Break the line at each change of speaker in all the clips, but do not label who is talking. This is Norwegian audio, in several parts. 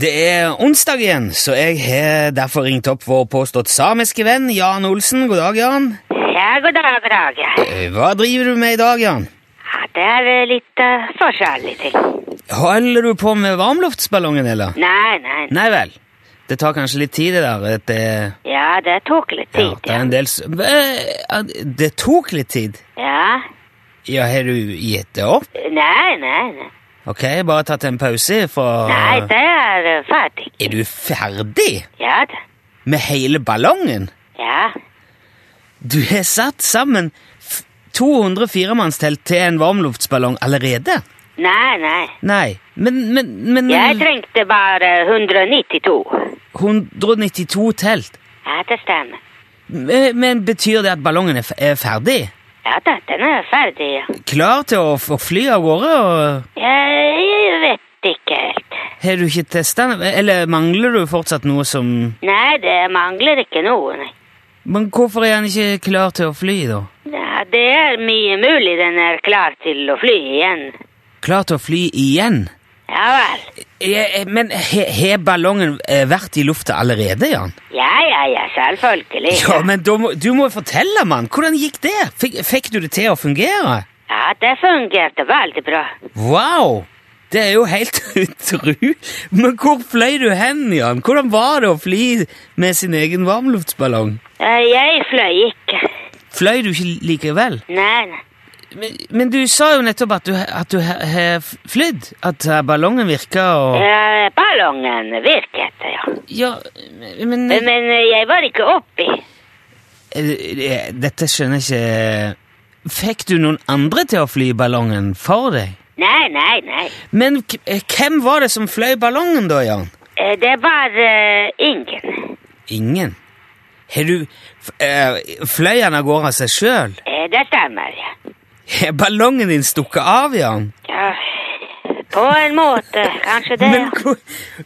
Det er onsdag igjen, så jeg har derfor ringt opp vår påstått samiske venn Jan Olsen. God dag, Jan.
Ja, god dag, god dag. Ja,
Eh, Hva driver du med i dag, Jan?
Ja, det er eh, litt eh, forskjellig til.
Holder du på med varmluftsballongen, eller?
Nei, nei.
Nei vel. Det tar kanskje litt tid, det der. at Det,
Ja, det tok litt
ja,
tid,
det er
ja.
en del s- Hva- at Det tok litt tid?
Ja,
Ja, har du gitt det opp?
nei, nei, nei.
Ok, bare tatt en pause fra
Nei, det er eh, ferdig.
Er du ferdig
Ja, da.
med hele ballongen?
Ja,
Du har satt sammen f- 200 firemannstelt til en varmluftsballong allerede?
nei, nei.
Nei, men, men, men
Jeg trengte bare 192.
192 telt.
Ja, det stemmer.
Men, men betyr det at ballongen er, f er ferdig?
Ja da, den er ferdig, ja.
Klar til å, f- å fly av gårde? Og
Jeg, jeg vet ikke helt.
har du ikke testa den? Eller mangler du fortsatt noe som
Nei, det mangler ikke noe, nei.
Men hvorfor er han ikke klar til å fly, da?
Ja, det er mye mulig den er klar til å fly igjen.
Klar til å fly igjen?
Ja vel.
Jeg- jeg- Men he- har ballongen eh, vært i lufta allerede, Jan?
Ja, ja, ja, selvfølgelig.
Ja, men da må, du må jo fortelle, mann! Hvordan gikk det? Fikk, fikk du det til å fungere?
Ja, det fungerte veldig bra.
Wow! Det er jo helt utru! Men hvor fløy du hen, Jan? Hvordan var det å fly med sin egen varmluftsballong?
Eh, Jeg fløy ikke.
Fløy du ikke likevel?
Nei, nei.
Men, men du sa jo nettopp at du, at du har- har flydd. At eh, ballongen virka og
Eh, Ballongen virket, ja.
Ja, men
Men eh, jeg var ikke oppi.
Eh, Dette skjønner jeg ikke Fikk du noen andre til å fly ballongen for deg?
Nei, nei, nei.
Men k- eh, hvem var det som fløy ballongen da, Jan?
Eh, Det var eh, ingen.
Ingen. Har du f- eh, Fløy han av gårde av seg sjøl?
Eh, Det stemmer, ja.
Har ballongen din stukket av, Jan?
ja. På en måte, kanskje det.
Men hvor,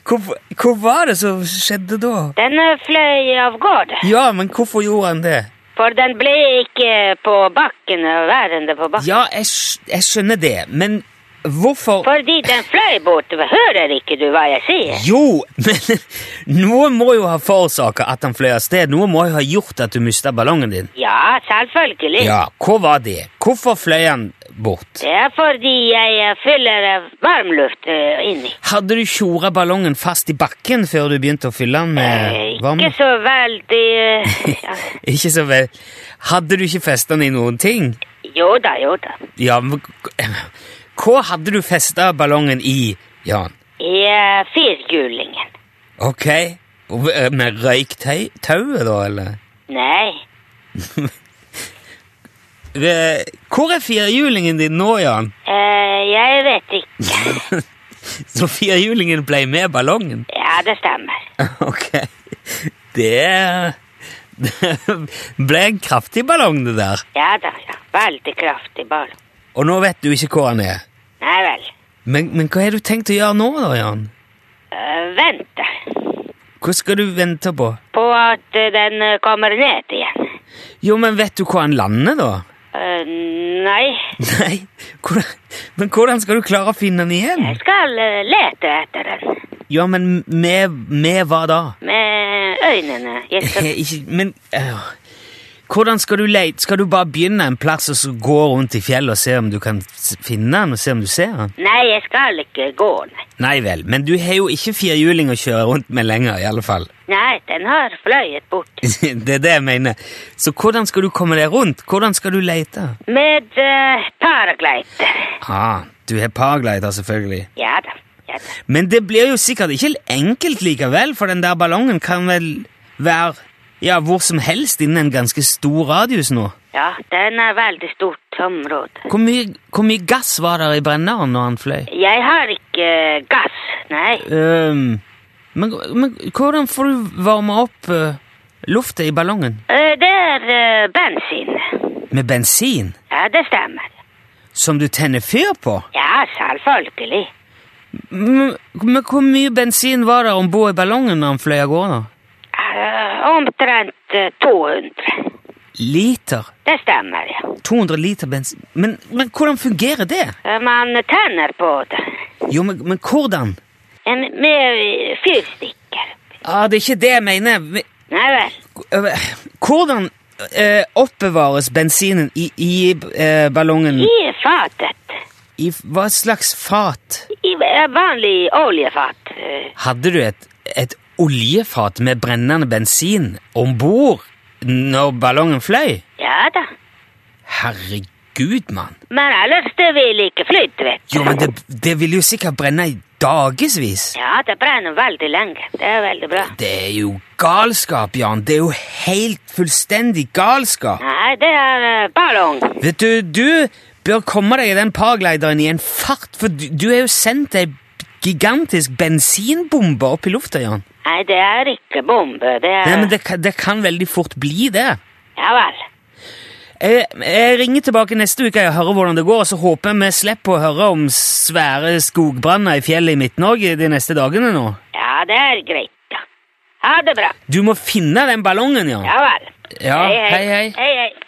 hvor, hvor var det som skjedde da?
Den eh, fløy av gårde.
Ja, men hvorfor gjorde han det?
For den ble ikke på bakken, eh, værende på bakken.
Ja, jeg, skj- jeg skjønner det, men hvorfor
Fordi den fløy bort. Hører ikke du hva jeg sier?
Jo, men noe må jo ha forårsaka at han fløy av sted. Noe må jo ha gjort at du mista ballongen din.
Ja, selvfølgelig.
Ja, hva var det? Hvorfor fløy han bort?
Det er fordi jeg eh, fyller eh, varmluft eh, inni.
Hadde du tjora ballongen fast i bakken før du begynte å fylle den
Eh,
med varme?
Ikke så veldig eh, ja.
Ikke så vel. Hadde du ikke festa den i noen ting?
Jo da, jo da.
Ja, men Hva hadde du festa ballongen i, Jan?
I eh, firhjulingen.
Ok, eh, med røyktauet da, eller?
Nei.
Eh, Hvor er firhjulingen din nå, Jan?
Eh, jeg vet ikke.
Så firhjulingen ble med ballongen?
Ja, det stemmer.
Ok. Det Det ble en kraftig ballong, det der.
Ja da, ja. Veldig kraftig ballong.
Og nå vet du ikke hvor han er.
Nei vel.
Men, men hva har du tenkt å gjøre nå, da, Jan?
Eh, vente
Hva skal du vente på?
på at eh, den eh, kommer ned igjen.
Jo, men vet du hvor han lander, da?
Eh, nei,
Nei, hvordan, men hvordan skal du klare å finne han igjen?
jeg skal eh, lete etter den
Ja, men med, med hva da? Eh,
med øynene. Jeg skal
Ikke, men øh, Hvordan skal du leite? Skal du bare begynne en plass og så gå rundt i fjellet og se om du kan s- finne han, og se om du ser han?
Nei, jeg skal ikke gå, nei.
Nei vel, men du har jo ikke firhjuling å kjøre rundt med lenger, i alle fall.
Nei, den har fløyet bort.
Det er det jeg mener. Så hvordan skal du komme deg rundt? Hvordan skal du lete?
Med uh, paraglider.
Ah, du har paraglider, selvfølgelig.
Ja da, ja da.
Men det blir jo sikkert ikke enkelt likevel, for den der ballongen kan vel være ja, hvor som helst innen en ganske stor radius nå.
Ja, den er veldig stort område.
Hvor mye, hvor mye gass var der i brenneren når han fløy?
Jeg har ikke eh, gass, nei.
Øhm, men, men hvordan får du varme opp uh, luftet i ballongen?
Eh, det er eh, bensin.
Med bensin?
Ja, det stemmer.
Som du tenner fyr på?
Ja, selvfølgelig.
Men, men hvor mye bensin var det om bord i ballongen når han fløy av gårde?
Eh, omtrent eh, 200.
Liter?
Det stemmer, ja.
200 liter bensin? Men, men hvordan fungerer det?
Eh, Man tenner på det.
Jo, men, men hvordan?
En, med eh, fyrstikker.
Ah, det er ikke det jeg mener. Men,
Nei vel.
eh, Hvordan eh, oppbevares bensinen i, i eh, ballongen?
I fatet.
I f- hva slags fat?
I eh, vanlig oljefat. eh,
Hadde du et, et oljefat med brennende bensin om bord når ballongen fløy?
Ja da.
Herregud, mann.
Men ellers det vil ikke flyte, vet du.
Jo, men det, det ville jo sikkert brenne i dagevis.
Ja, det brenner veldig lenge. Det er veldig bra.
Det er jo galskap, Jan. Det er jo helt fullstendig galskap.
Nei, det er eh, ballong.
Vet du, du bør komme deg i den paraglideren i en fart, for du, du er jo sendt ei gigantisk bensinbombe opp i lufta, Jan.
Nei, det er ikke bombe. Det er
Nei, men det, kan- det kan veldig fort bli det.
Ja vel.
Jeg, jeg ringer tilbake neste uke og hører hvordan det går, og så håper jeg vi slipper å høre om svære skogbranner i fjellet i Midt-Norge de neste dagene nå.
Ja, det er greit, da. Ha det bra.
Du må finne den ballongen, Jan.
Ja vel.
Ja, hei, hei.
Hei, hei.